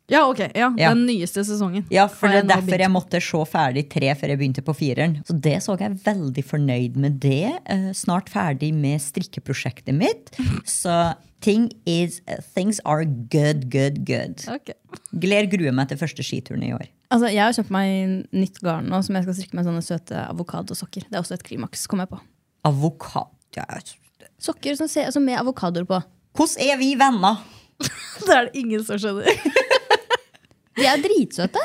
S2: Ja, ok. Ja,
S4: Ja.
S2: Den nyeste sesongen.
S4: Ja, for
S2: Har
S4: det
S2: jeg
S4: er
S2: nå
S4: derfor
S2: begynt
S4: jeg måtte se ferdig tre før jeg begynte på fireren. Så det så jeg veldig fornøyd med det. Eh, Snart ferdig med strikkeprosjektet mitt. Så ting is, things are good, good, good.
S2: Ok.
S4: Gleder gruer meg til første skituren i år.
S3: Altså, jeg har kjøpt meg nytt garn nå, som jeg skal strikke med sånne søte avokadosokker. Det er også et klimaks, kom jeg på.
S4: Avokado Hvordan
S3: Sokker som ser, altså med avokadoer på.
S4: er vi venner?
S2: Det er det ingen som skjønner.
S3: De er dritsøte!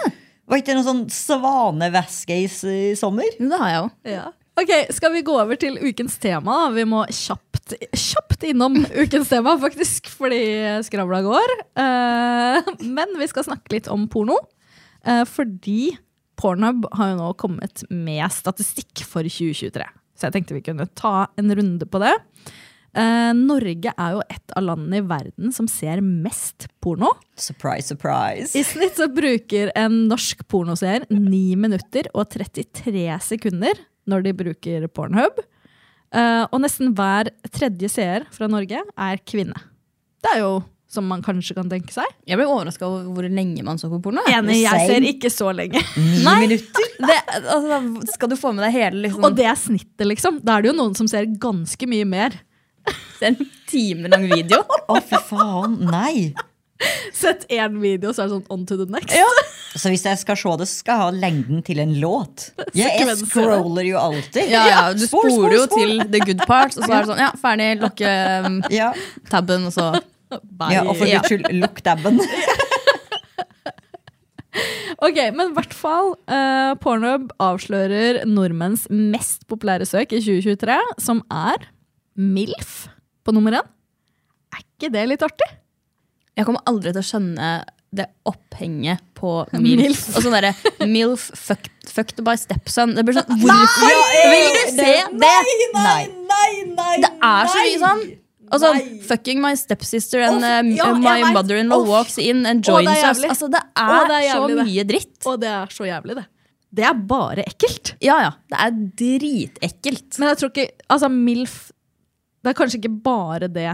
S4: Var ikke det noe sånn svanevæske i, s- i sommer?
S3: Jo, det har jeg òg.
S2: Ok, Skal vi gå over til ukens tema? da? Vi må kjapt, kjapt innom ukens tema, faktisk, fordi skravla går. Eh, men vi skal snakke litt om porno. eh, fordi Pornhub har jo nå kommet med statistikk for 2023. Så jeg tenkte vi kunne ta en runde på det. Eh, Norge er jo et av landene i verden som ser mest porno.
S4: Surprise, surprise.
S2: I snitt så bruker en norsk pornoseer 9 minutter og 33 sekunder når de bruker Pornhub. Eh, og nesten hver tredje seer fra Norge er kvinne. Det er jo som man kanskje kan tenke seg.
S3: Jeg ble overraska over hvor lenge man så på porno. jeg.
S2: Enig, jeg
S4: Same.
S2: ser ikke så lenge.
S4: Ni minutter.
S3: Det, altså, skal du få med deg hele liksom,
S2: Og det er snittet, liksom. Da er det jo noen som ser ganske mye mer.
S3: en time lang video?
S4: Å, fy faen. Nei.
S2: Sett én video, så er det sånn on to the next.
S4: Så hvis jeg skal se det, så skal jeg ha lengden til en låt. Ja, jeg
S2: Sekvenser.
S4: scroller jo alltid.
S3: Ja, ja, Du
S4: Spol, spol,
S3: spoler jo
S4: spol.
S3: til the good parts, og så er det sånn ja, ferdig, lukke um,
S4: Ja.
S3: tabben, og så
S2: Bye.
S4: ja, og for guds skyld, lukk dabben.
S2: Ok, men i hvert fall eh, Pornhub avslører nordmenns mest populære søk i 2023, som er MILF på nummer én. Er ikke det litt artig?
S3: Jeg kommer aldri til å skjønne det opphenget på MILF. Og sånn derre MILF fucked, fucked by stepson. Det blir sånn, hvorfor vil du se det?
S4: eh, Nei, nei, nei!
S3: Det er så mye sånn. Og sånn fucking my stepsister and
S2: Å, fy-
S3: um,
S2: ja, jeg
S3: my
S2: vet.
S3: mother-in-law
S2: Å, fy-
S3: walks in and
S2: Å, det er
S3: joins us.
S2: jævlig.
S3: Altså, det er,
S2: Å, det er jævlig,
S3: så
S2: det.
S3: mye dritt.
S2: Og det er så jævlig, det. Det er bare ekkelt.
S3: Ja, ja. Det er dritekkelt.
S2: Men jeg tror ikke Altså, MILF Det er kanskje ikke bare det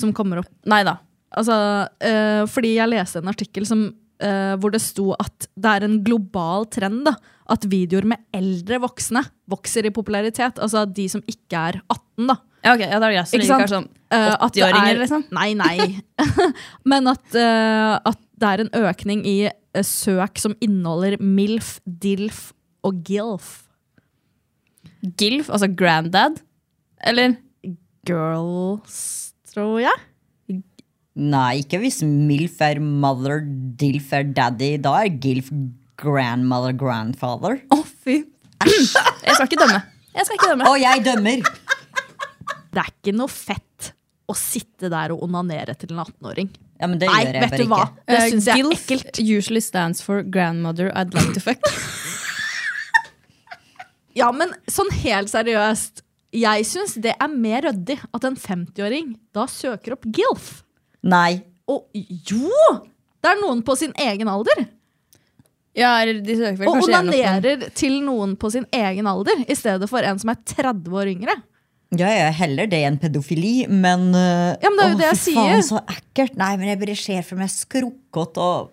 S2: som kommer opp.
S3: Nei da.
S2: Altså, eh, fordi jeg leste en artikkel som, eh, hvor det sto at det er en global trend da, at videoer med eldre voksne vokser i popularitet. Altså de som ikke er 18, da.
S3: Ja, ok, ja, det er greit. Så
S2: Ikke
S3: det ikke er sånn
S2: sant? Eh, at det er-
S3: 80-åringer, liksom?
S2: Nei, nei. Men at, eh, at det er en økning i eh, søk som inneholder MILF, DILF og GILF.
S3: GILF, altså granddad. Eller?
S2: Girls, tror jeg.
S4: Nei, ikke hvis MILF er mother, DILF er daddy. Da er GILF grandmother, grandfather.
S3: Å, fy. Jeg skal ikke dømme. Jeg skal ikke dømme.
S4: Og jeg dømmer!
S2: Det er ikke noe fett å sitte der og onanere til en 18-åring.
S4: Ja, men det
S2: Nei,
S4: gjør jeg
S2: vet
S4: bare
S2: du hva?
S4: ikke.
S2: Det
S3: Eh,
S2: syns jeg er
S3: GILF
S2: ekkelt.
S3: usually stands for grandmother I'd like to fuck.
S2: Ja, men sånn helt seriøst. Jeg syns det er mer ryddig at en 50-åring da søker opp GILF.
S4: Nei.
S2: Og jo! Det er noen på sin egen alder.
S3: Ja, eller de søker vel
S2: Og
S3: kanskje gjennom den.
S2: onanerer til noen på sin egen alder i stedet for en som er 30 år yngre.
S4: Ja, ja, heller det enn pedofili, men øh,
S2: Ja, men det er jo
S4: å,
S2: det
S4: fy
S2: jeg sier.
S4: Faen, så ekkelt. Nei, men jeg bare ser for meg skrukkete og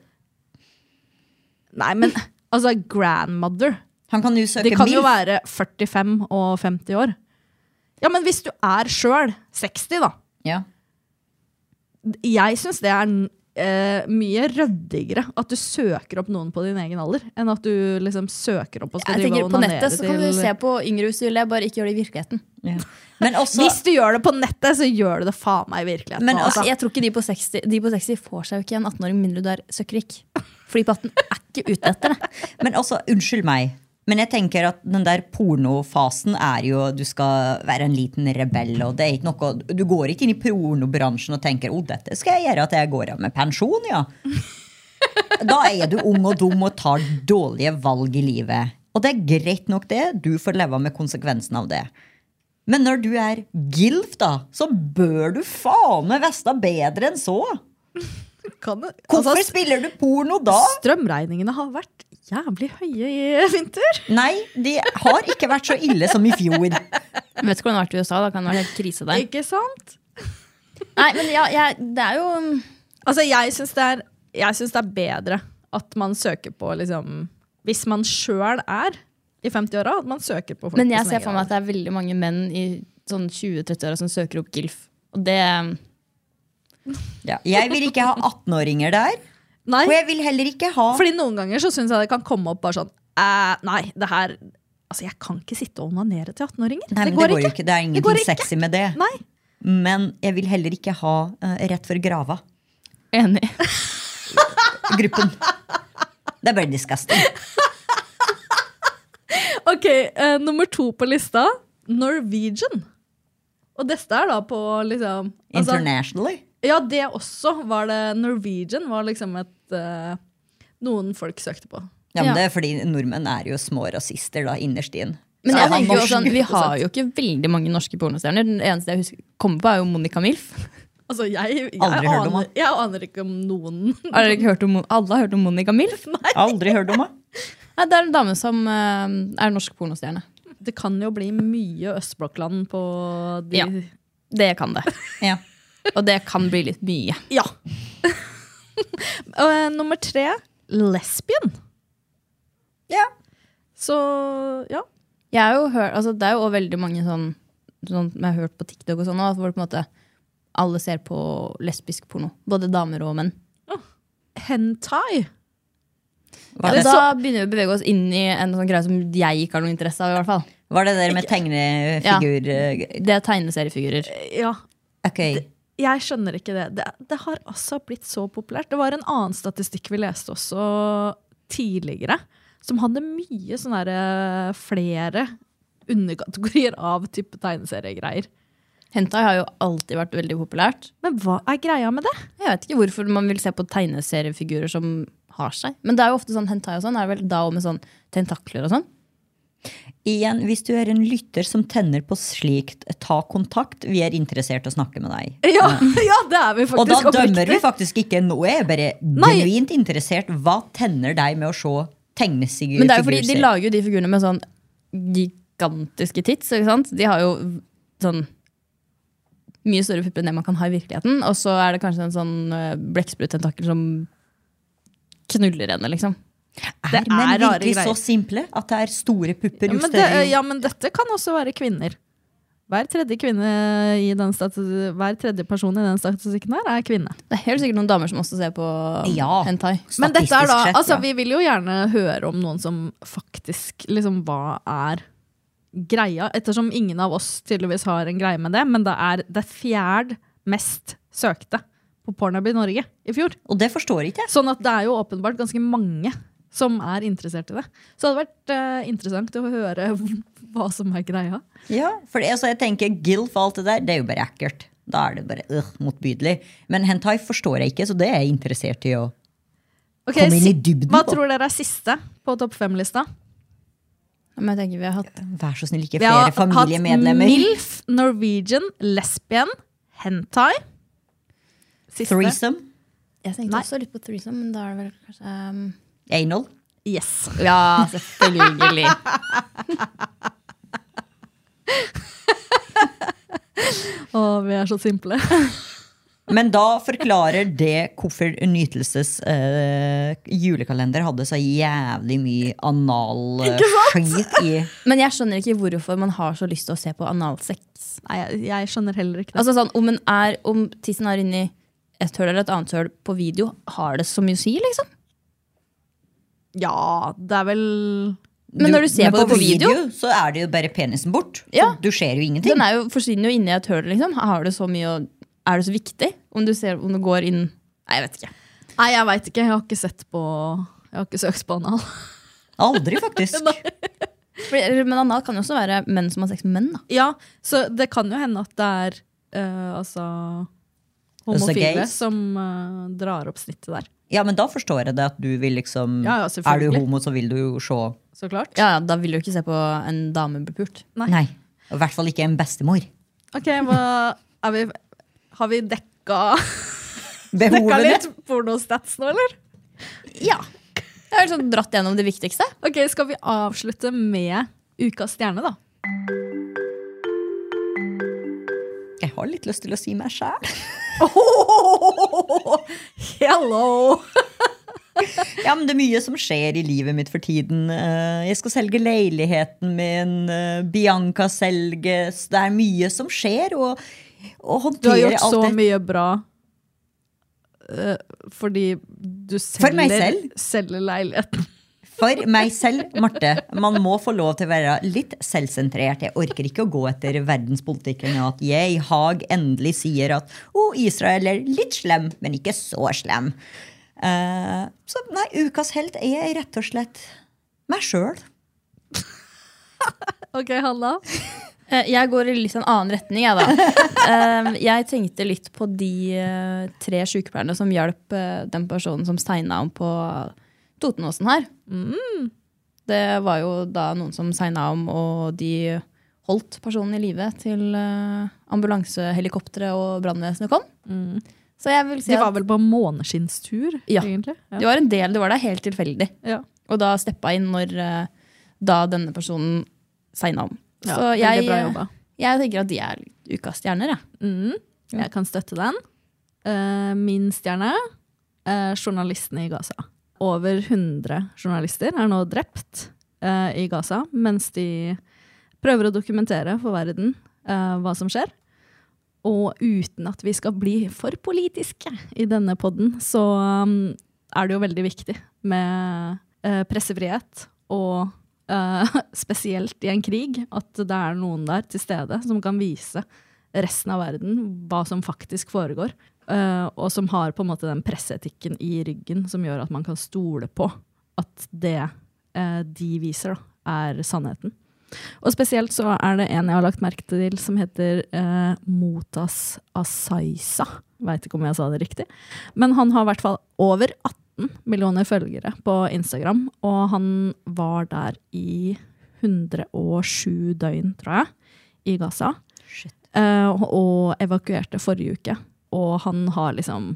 S2: Nei, men altså, grandmother.
S4: Han kan jo søke
S2: De kan jo
S4: MILF.
S2: være 45 og 50 år. Ja, men hvis du er sjøl 60, da.
S4: Ja.
S2: Jeg syns det er eh, mye ryddigere at du søker opp noen på din egen alder, enn at du liksom søker opp og skal
S3: Jeg
S2: drive
S3: tenker
S2: og
S3: På
S2: onanere
S3: nettet så kan du
S2: til
S3: se på yngre usulle, bare ikke gjør det i virkeligheten.
S4: Ja. Men også
S2: Hvis du gjør det på nettet, så gjør du det faen meg i virkeligheten.
S4: Men
S2: nå,
S3: Altså,
S2: altså.
S3: jeg tror ikke de på 60, de på 60 får seg jo ikke en 18-åring mindre du er søkkrik. Fordi på 18 er ikke ute etter det.
S4: Men altså, unnskyld meg, men jeg tenker at den der pornofasen er jo Du skal være en liten rebell, og det er ikke noe Du går ikke inn i pornobransjen og tenker 'Å, dette skal jeg gjøre at jeg går av med pensjon', ja. Da er du ung og dum og tar dårlige valg i livet. Og det er greit nok, det. Du får leve med konsekvensen av det. Men når du er gilf, da, så bør du faen meg veste bedre enn så.
S2: Kan det-
S4: Hvorfor
S2: altså,
S4: spiller du porno da?
S2: Strømregningene har vært jævlig høye i vinter.
S4: Nei, de har ikke vært så ille som i fjor.
S3: Vet ikke hvordan det har vært i USA. Da kan det være helt krise der.
S2: Ikke sant?
S3: Nei, men ja, jeg, det er jo
S2: Altså, jeg syns det, er- jeg syns det er bedre at man søker på liksom Hvis man sjøl er i 50-åra, at man søker på folk
S3: Men
S2: på
S3: jeg
S2: sin
S3: ser
S2: egen
S3: for meg
S2: alder.
S3: at det er veldig mange menn i sånn 20-30-åra som søker opp GILF. Og det
S4: Ja. Jeg vil ikke ha 18-åringer der. Og
S2: Nei,
S4: jeg vil heller ikke ha
S2: fordi noen ganger så syns jeg det kan komme opp bare sånn eh, Nei, det her Altså, jeg kan ikke sitte og onanere til 18-åringer.
S4: Nei, men
S2: Det går ikke.
S4: Det er
S2: Det går
S4: ingenting
S2: ikke.
S4: sexy med det.
S2: Nei.
S4: Men jeg vil heller ikke ha eh, Rett før grava.
S3: Enig.
S4: Gruppen. Det er bare disgusting.
S2: Ok, eh, nummer to på lista. Norwegian. Og dette er da på liksom altså-
S4: Internationally.
S2: Ja, det også var det. Norwegian var liksom et eh, Noen folk søkte på.
S4: Ja, men
S3: Ja.
S4: Det er fordi nordmenn er jo små rasister da, innerst inn.
S3: Men
S4: Så
S3: jeg
S4: er han
S3: tenker jo
S4: norsk.
S3: sånn, Vi har jo ikke veldig mange norske pornostjerner. Den eneste jeg husker kommer på, er jo Monica Milf.
S2: Altså, jeg, jeg,
S4: Aldri hørt
S2: aner,
S4: om han.
S2: jeg aner ikke om noen
S3: Har dere ikke hørt om, Mon- alle har hørt om Monica Milf? Nei,
S4: Aldri hørt om henne.
S3: Det er en dame som eh, er norsk pornostjerne.
S2: Det kan jo bli mye østblokkland på de
S3: Ja. Det kan det.
S4: Ja.
S3: Og det kan bli litt mye.
S2: Ja. Eh, nummer tre lesbien.
S4: Ja.
S2: Så ja.
S3: Jeg har jo hørt, altså det er jo også veldig mange sånn, sånn som jeg har hørt på TikTok og sånn, at folk på en måte alle ser på lesbisk porno. Både damer og menn.
S2: Hentai.
S4: Var,
S3: Og
S4: det,
S3: da begynner vi å bevege oss inn i en sånn greie som jeg ikke har noe interesse av. i hvert fall.
S4: var det der med tegnefigur eh,
S3: Det er tegneseriefigurer.
S2: Ja.
S4: Ok.
S2: Jeg skjønner ikke det. det. Det har altså blitt så populært. Det var en annen statistikk vi leste også tidligere, som hadde mye sånne der, eh, flere underkategorier av type tegneseriegreier.
S3: Hentai har jo alltid vært veldig populært.
S2: Men hva er greia med det?
S3: Jeg vet ikke hvorfor man vil se på tegneseriefigurer som har seg. Men det er jo ofte sånn hentai og sånn, er det vel da og med sånn tentakler og sånn.
S4: Igjen, hvis du er en lytter som tenner på slikt, ta kontakt. Vi er interessert i å snakke med deg.
S2: Ja, ja det er vi
S4: Og da
S2: faktisk
S4: dømmer vi
S2: oppriktig.
S4: faktisk ikke noe. Jeg er bare
S2: Nei.
S4: genuint interessert. Hva tenner deg med å se tegneserier?
S3: Men det er jo fordi de lager jo de figurene med sånn gigantiske tits. Ikke sant? De har jo sånn mye større pupper enn det man kan ha i virkeligheten. Og så er det kanskje en sånn eh, blekkspruttentakel som knuller henne, liksom.
S4: Er
S2: Det
S4: menn
S2: er rare
S4: virkelig
S2: greier.
S4: så simple at det er store pupper?
S2: Ja men, det, ja, men dette kan også være kvinner. Hver tredje, kvinne i den stati- hver tredje person i den statistikken her er kvinne.
S3: Det er helt sikkert noen damer som også ser på um,
S4: Ja.
S3: hentai.
S2: Men dette er da,
S4: Statistisk sett,
S2: altså
S4: ja.
S2: Vi vil jo gjerne høre om noen som faktisk liksom, Hva er greia? Ettersom ingen av oss tydeligvis har en greie med det, men det er det fjerd mest søkte på Pornhub i Norge i fjor.
S4: Og det forstår ikke jeg.
S2: Sånn at det er jo åpenbart ganske mange som er interessert i det. Så det hadde vært eh, interessant å høre hva som er greia.
S4: Ja, for det, altså, jeg tenker Gilf og alt det der, det er jo bare ekkelt. Da er det bare øh, motbydelig. Men hentai forstår jeg ikke, så det er jeg interessert i å
S2: Ok,
S4: komme inn i
S2: si-
S4: dybden
S2: hva
S4: på.
S2: tror dere er siste på topp fem-lista?
S3: Men jeg tenker vi har hatt
S4: Vær så snill, ikke
S2: Vi har
S4: flere
S2: hatt
S4: familiemedlemmer.
S2: MILF, Norwegian, lesbian, hentai. Siste.
S4: Threesome.
S3: Jeg tenkte også litt på threesome, men da er det vel kanskje um,
S4: Anal.
S2: Yes.
S3: Ja, selvfølgelig.
S2: Å, vi er så simple.
S4: Men da forklarer det hvorfor Nytelses eh, julekalender hadde så jævlig mye analskit i
S3: men jeg skjønner ikke hvorfor man har så lyst til å se på analsex.
S2: Nei, jeg, jeg skjønner heller ikke det.
S3: Altså sånn, om, en er, om tissen er inni et høl eller et annet høl på video, har det så mye å si, liksom?
S2: ja, det er vel
S3: Men når du ser på det på video,
S4: så er det jo bare penisen bort.
S3: Ja.
S4: Så du ser jo ingenting.
S3: den er jo, forsvinner jo inni et høl, liksom. Har det så mye å, er det så viktig? Om du, ser, om du går inn Nei, jeg vet ikke.
S2: Nei, jeg veit ikke. Jeg har ikke sett på Jeg har ikke søkt på anal.
S4: Aldri, faktisk.
S3: For, men anal kan jo også være menn som har sex med menn, da.
S2: Ja, så det kan jo hende at det er eh, altså
S4: Altså
S2: homofile
S4: gays?
S2: som eh, drar opp snittet der.
S4: Ja, men da forstår jeg det at du vil liksom
S2: Ja, ja,
S4: Er du
S2: selvfølgelig.
S4: homo, så vil du jo se
S2: Så klart.
S3: Ja, ja, Da vil du jo ikke se på en dame bli pult.
S2: Nei.
S4: Nei. Og I hvert fall ikke en bestemor.
S2: Ok, hva er vi, Har vi dekka, dekka
S4: Behovene.
S2: litt pornostats nå, eller?
S3: Ja. Jeg har liksom dratt gjennom det viktigste.
S2: Ok, Skal vi avslutte med Ukas stjerne, da?
S4: Jeg har litt lyst til å si meg sjæl.
S2: Hello!
S4: Ja, men det er mye som skjer i livet mitt for tiden. Eh, Jeg skal selge leiligheten min. eh, Bianca selges. Det er mye som skjer. Og, og
S2: Du har
S4: håndtere
S2: gjort
S4: alt
S2: så
S4: det-
S2: mye bra eh, fordi du selger,
S4: meg selv?
S2: selger leiligheten.
S4: For meg selv, Marte, man må få lov til å være litt selvsentrert. Jeg orker ikke å gå etter verdenspolitikken og at jeg, Haag, endelig sier at oh, Israel er litt slem, men ikke så slem. Eh, så nei, ukas helt er rett og slett meg sjøl.
S2: Ok, Hanna?
S3: Eh, Jeg går i litt en annen retning, jeg, da. Eh, Jeg tenkte litt på de eh, tre sykepleierne som hjalp eh, den personen som segna om på Totenåsen her.
S2: Mm.
S3: Det var jo da noen som segna om, og de holdt personen i live til eh, ambulansehelikoptre og brannvesenet kom. Så jeg vil
S2: Mm.
S3: si
S2: De
S3: at
S2: var vel på måneskinnstur,
S3: Ja.
S2: egentlig? Ja.
S3: de var en del, det var da helt tilfeldig.
S2: Ja.
S3: Og da steppa inn når eh, da denne personen segna om.
S2: Ja,
S3: Så
S2: veldig
S3: jeg,
S2: bra jobba.
S3: jeg tenker at de er ukas stjerner, jeg.
S2: Mm, jeg kan støtte den. Eh, min stjerne eh, journalistene i Gaza. Over 100 journalister er nå drept eh, i Gaza mens de prøver å dokumentere for verden eh, hva som skjer. Og uten at vi skal bli for politiske i denne podden, så um, er det jo veldig viktig med eh, pressefrihet og eh, spesielt i en krig at det er noen der til stede som kan vise resten av verden hva som faktisk foregår. eh, og som har på en måte den presseetikken i ryggen som gjør at man kan stole på at det eh, de viser, da, er sannheten. Og spesielt så er det en jeg har lagt merke til som heter eh, Motas Asaisa. Veit ikke om jeg sa det riktig. Men han har i hvert fall over 18 millioner følgere på Instagram, og han var der i 107 døgn, tror jeg, i Gaza. Eh, og evakuerte forrige uke. Og han har liksom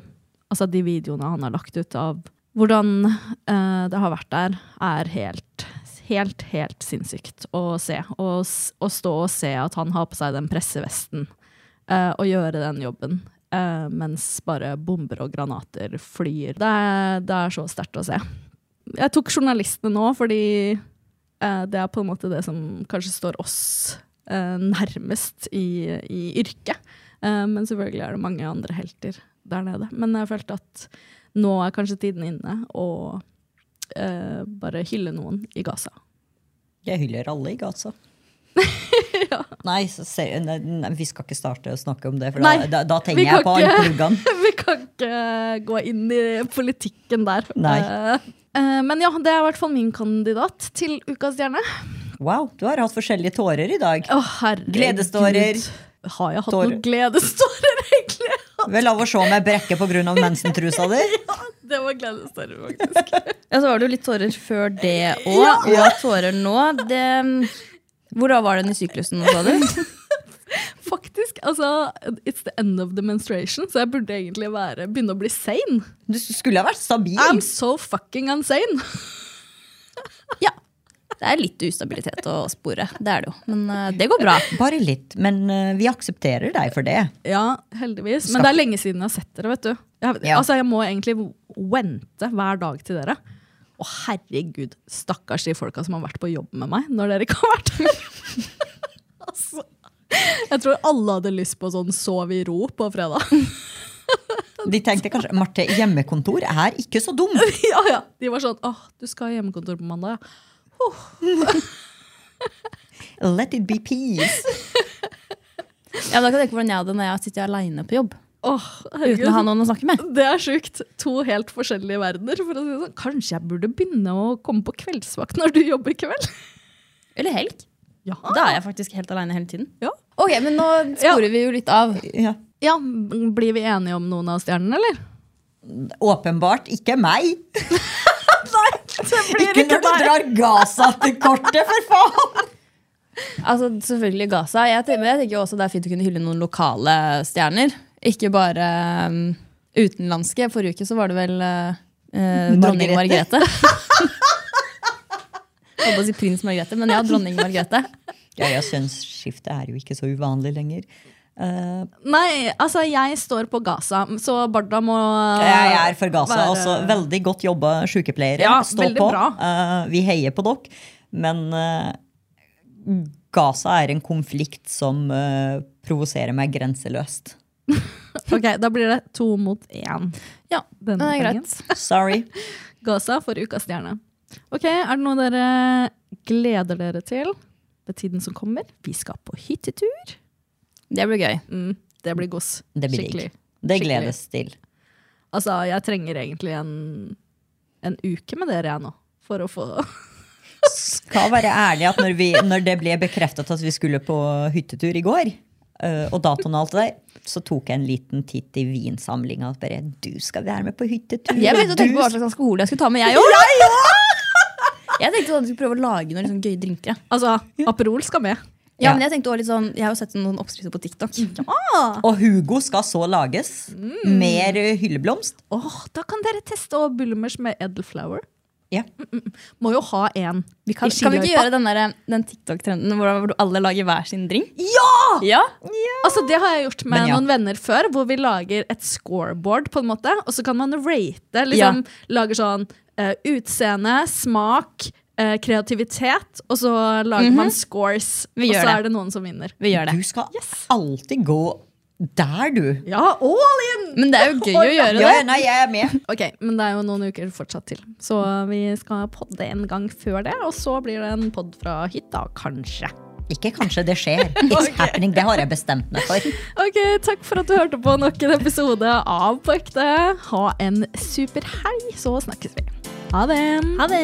S2: Altså, de videoene han har lagt ut av hvordan eh, det har vært der, er helt Helt, helt sinnssykt å se. Og, s- å stå og se at han har på seg den pressevesten eh, og gjøre den jobben. eh, mens bare bomber og granater flyr. Det er, det er så sterkt å se. Jeg tok journalistene nå fordi Eh, Det er på en måte det som kanskje står oss eh, nærmest i, i yrket. Eh, men selvfølgelig er det mange andre helter der nede. Men jeg følte at nå er kanskje tiden inne å eh, bare hylle noen i Gaza.
S4: Jeg hyller alle i Gaza. Nei, så ser, nei, nei, vi skal ikke starte å snakke om det, for
S2: Nei,
S4: da, da, da
S2: vi
S4: tenner
S2: kan
S4: jeg på
S2: ikke.
S4: alle pluggene.
S2: Vi kan ikke gå inn i politikken der.
S4: Nei.
S2: Eh, eh, men ja, det er i hvert fall min kandidat til Ukas stjerne.
S4: Wow, du har hatt forskjellige tårer i dag.
S2: Å, herregud.
S4: Gledestårer.
S2: Har jeg hatt
S4: Tårer.
S2: noen gledestårer, egentlig?
S4: Vel av å se meg brekke pga. mensentrusa di.
S2: Det var gledesstørre, faktisk.
S3: Ja, så var det jo litt tårer før det òg, og tårer nå. Det, mm, hvor da var den i syklusen, sa du?
S2: Faktisk, altså, It's the end of the menstruation, så jeg burde egentlig være, begynne å bli sane.
S4: Du skulle ha vært stabil.
S2: I'm so fucking insane.
S3: Ja. Det er litt ustabilitet å spore, det er det jo. Men eh, det går bra.
S4: Bare litt, men eh, vi aksepterer deg for det.
S2: Ja, heldigvis. Men det er lenge siden jeg har sett dere. vet du. Jeg,
S4: Ja.
S2: altså, jeg må egentlig vente hver dag til dere. Å, herregud, stakkars de folka som har vært på jobb med meg når dere ikke har vært der. altså, jeg tror alle hadde lyst på sånn sov i ro på fredag.
S4: De tenkte kanskje Marte, hjemmekontor er ikke så dumt.
S2: ja, ja. De var sånn åh, du skal ha hjemmekontor på mandag, ja.
S4: Let it be peace.
S3: Ja, men da kan jeg tenke på hvordan jeg hadde det når jeg sitter aleine på jobb.
S2: Åh, herregud.
S3: Uten å ha noen å snakke med.
S2: Det er sjukt. To helt forskjellige verdener. for å si det sånn. Kanskje jeg burde begynne å komme på kveldsvakt når du jobber kveld?
S3: Eller helg.
S2: Ja.
S3: Da er jeg faktisk helt aleine hele tiden.
S2: Ja.
S3: Ok, men nå sporer vi jo litt av.
S4: Ja.
S2: Ja, m- Blir vi enige om noen av stjernene, eller?
S4: Åpenbart ikke meg. Ikke når du
S2: meg.
S4: drar Gaza til kortet, for faen!
S3: Altså, Selvfølgelig Gaza. Jeg tenker, men jeg tenker jo også det er fint å kunne hylle noen lokale stjerner. Ikke bare um, utenlandske. Forrige uke så var det vel eh, eh, dronning
S4: Margrethe.
S3: Margrethe. Jeg holdt på å si prins Margrethe, men ja, dronning Margrethe.
S4: Ja, ja, kjønnsskifte er jo ikke så uvanlig lenger. Eh,
S2: Nei, altså jeg står på Gaza, så Barda må
S4: jeg er for Gaza.
S2: Være-
S4: Altså, veldig godt jobba, sykepleiere.
S2: Ja,
S4: Stå
S2: veldig
S4: på.
S2: bra.
S4: Eh, vi heier på dere. Men eh, Gaza er en konflikt som eh, provoserer meg grenseløst.
S2: Ok, Da blir det to mot én.
S3: Ja,
S2: Denne
S3: det er
S2: gangen.
S3: greit.
S4: Sorry.
S2: Gaza for Ukas stjerne. Ok, Er det noe dere gleder dere til ved tiden som kommer? Vi skal på hyttetur.
S3: Det blir gøy.
S2: Mm, det blir gods.
S4: Det blir digg.
S2: Skikkelig.
S4: Det
S2: Skikkelig.
S4: gledes til.
S2: Altså, jeg trenger egentlig en, en uke med dere jeg nå. For å få
S4: Skal være ærlig at når, vi, når det ble bekreftet at vi skulle på hyttetur i går, eh, og datoen og alt det der, så tok jeg en liten titt i vinsamlinga. og Bare, du skal være med på hyttetur!
S3: Jeg begynte å tenke på hva
S4: du-
S3: slags alkohol jeg skulle ta med, jeg òg. Jeg tenkte sånn at vi skulle prøve å lage noen liksom gøye drinker. jeg.
S2: Altså, Aperol skal med.
S3: Ja,
S4: Ja.
S3: men Jeg tenkte også litt sånn, jeg har jo sett noen oppskrifter på TikTok.
S4: Og Hugo skal så lages. Mer eh, hylleblomst.
S2: Åh, Da kan dere teste og Bulmers med Edelflower.
S4: Ja.
S2: Må jo ha en vi
S3: Kan, kan vi ikke gjøre den, der, eh, den TikTok-trenden hvor hvor alle lager hver sin drink?
S4: Ja!
S3: Ja!
S2: Altså, det har jeg gjort med
S4: Men ja.
S2: noen venner før, hvor vi lager et scoreboard, på en måte, og så kan man rate. Liksom, Lager sånn eh, utseende, smak, eh, kreativitet, og så lager man scores.
S3: Mhm. Vi
S2: og
S3: gjør
S2: så
S3: det.
S2: er det noen som vinner.
S3: Vi gjør det.
S4: Du skal alltid gå der, du.
S2: Ja, all in!
S3: Men det er jo gøy å gjøre
S4: Ja,
S3: det.
S4: ja, nei, jeg er med.
S2: Ok, Men det er jo noen uker fortsatt til, så vi skal podde en gang før det. Og så blir det en podd fra hytta, kanskje.
S4: Ikke kanskje det skjer. It's happening. Det har jeg bestemt meg for.
S2: Ok, Takk for at du hørte på nok en episode av På ekte. Ha en super helg, så snakkes vi. Ha det.
S3: Ha det!